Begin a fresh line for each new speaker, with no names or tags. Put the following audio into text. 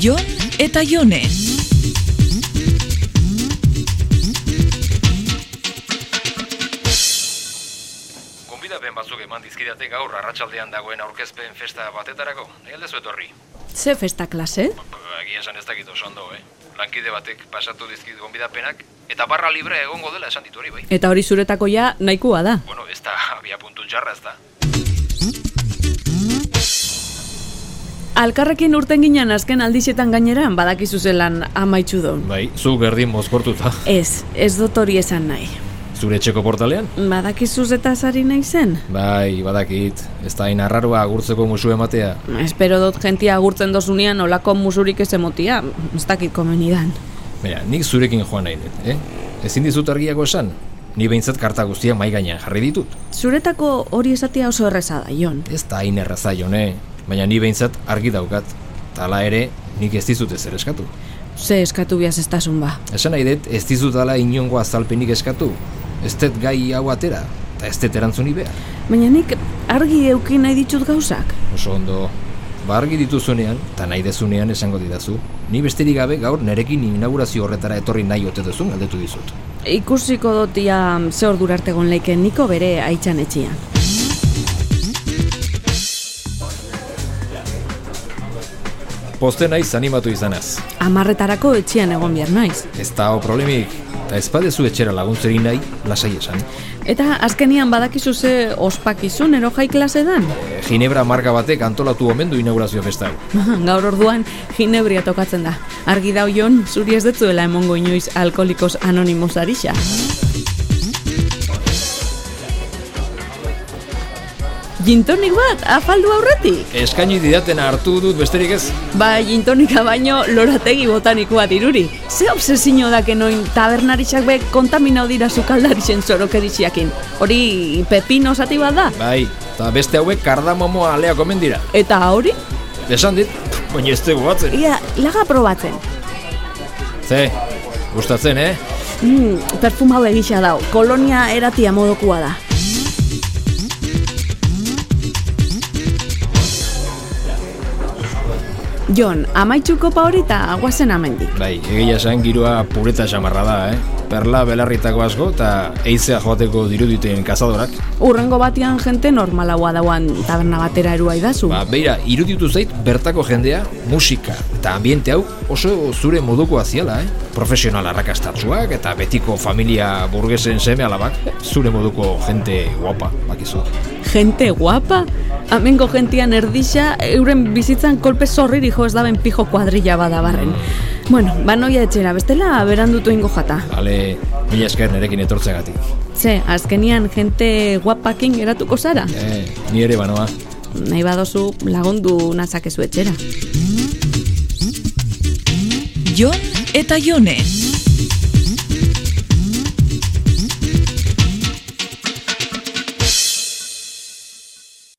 Jon eta Jone.
Gonbidapen batzuk eman dizkidate gaur arratsaldean dagoen aurkezpen festa batetarako. Egaldezu etorri.
Ze festa klase?
Agia esan ez dakit oso ondo, eh? Lankide batek pasatu dizkit gonbidapenak eta barra libre egongo dela esan ditu hori bai.
Eta hori zuretako ja nahikoa da.
Bueno, ez da abia puntu jarra ez da.
Alkarrekin urten ginen azken aldixetan gainera badakizu zelan amaitzu don.
Bai, zu berdin mozkortuta.
Ez, ez dut hori esan nahi.
Zure etxeko portalean?
Badakizu eta sari nahi zen?
Bai, badakit. Ez da hain arraroa agurtzeko musu ematea.
Espero dut jentia agurtzen dozunean olako musurik ez emotia, ez dakit komenidan.
Mira, nik zurekin joan nahi dut, eh? Ezin dizut argiago esan. Ni behintzat karta guztiak mai gainean jarri ditut.
Zuretako hori esatea oso erreza da, Jon.
Ez da hain erraza jone, baina ni behintzat argi daukat. Tala ere, nik ez dizut ezer eskatu.
Ze eskatu biaz estasun ba.
Esan nahi dut, ez dizut ala inongo azalpenik eskatu. Ez dut gai hau atera, eta ez dut erantzuni behar.
Baina nik argi eukin nahi ditut gauzak.
Oso ondo, ba argi dituzunean, eta nahi dezunean esango didazu. Ni besterik gabe gaur nerekin inaugurazio horretara etorri nahi ote duzun galdetu dizut.
Ikusiko dut ia ze ordura arte egon leiken niko bere aitzan etxean.
Poste naiz animatu izanaz.
Amarretarako etxean egon behar naiz.
Ez da o problemik, eta ez badezu etxera laguntzerik nahi, lasai esan.
Eta azkenian badakizu ze ospakizun ero jai klase dan.
E, Ginebra marka batek antolatu omen du inaugurazio festa hau.
Gaur orduan ginebria tokatzen da. Argi da oion, zuri ez detzuela emongo inoiz alkolikos anonimos arixa. Gintonik bat, afaldu aurretik.
Eskaini didatena hartu dut besterik ez,
Ba, gintonika baino lorategi botanikoa diruri. Ze obsesio da kenoin tabernarixak be kontaminau dira sukaldarixen zorokerixeakin. Hori pepino zati bat da.
bai, eta beste hauek kardamomoa aleak omen dira.
Eta hori?
Esan dit, baina ez dugu batzen.
Ia, laga probatzen.
Ze, gustatzen, eh?
Mm, perfumau egisa dau, kolonia eratia modokua da. Jon, amaitzuko pa hori eta guazen amendik.
Bai, egia esan giroa pureta xamarra da, eh? Perla belarritako asko eta eizea joateko diruditen kazadorak.
Urrengo batian jente normalagoa dauan taberna batera erua idazu.
Ba, beira, iruditu zait bertako jendea, musika eta ambiente hau oso zure moduko aziala, eh? Profesional arrakastatsuak eta betiko familia burgesen seme alabak, zure moduko jente guapa, bakizu.
Jente guapa? Hamengo gentian erdisa, euren bizitzan kolpe zorriri jo ez daben pijo kuadrilla bada barren. Bueno, banoia etxera, bestela berandutu ingo jata.
Ale, mila esker nerekin etortzeagatik.
Ze, azkenian jente guapakin geratuko zara?
Eh, ni ere banoa.
Nahi badozu lagundu nazakezu etxera.
Jon eta Jone.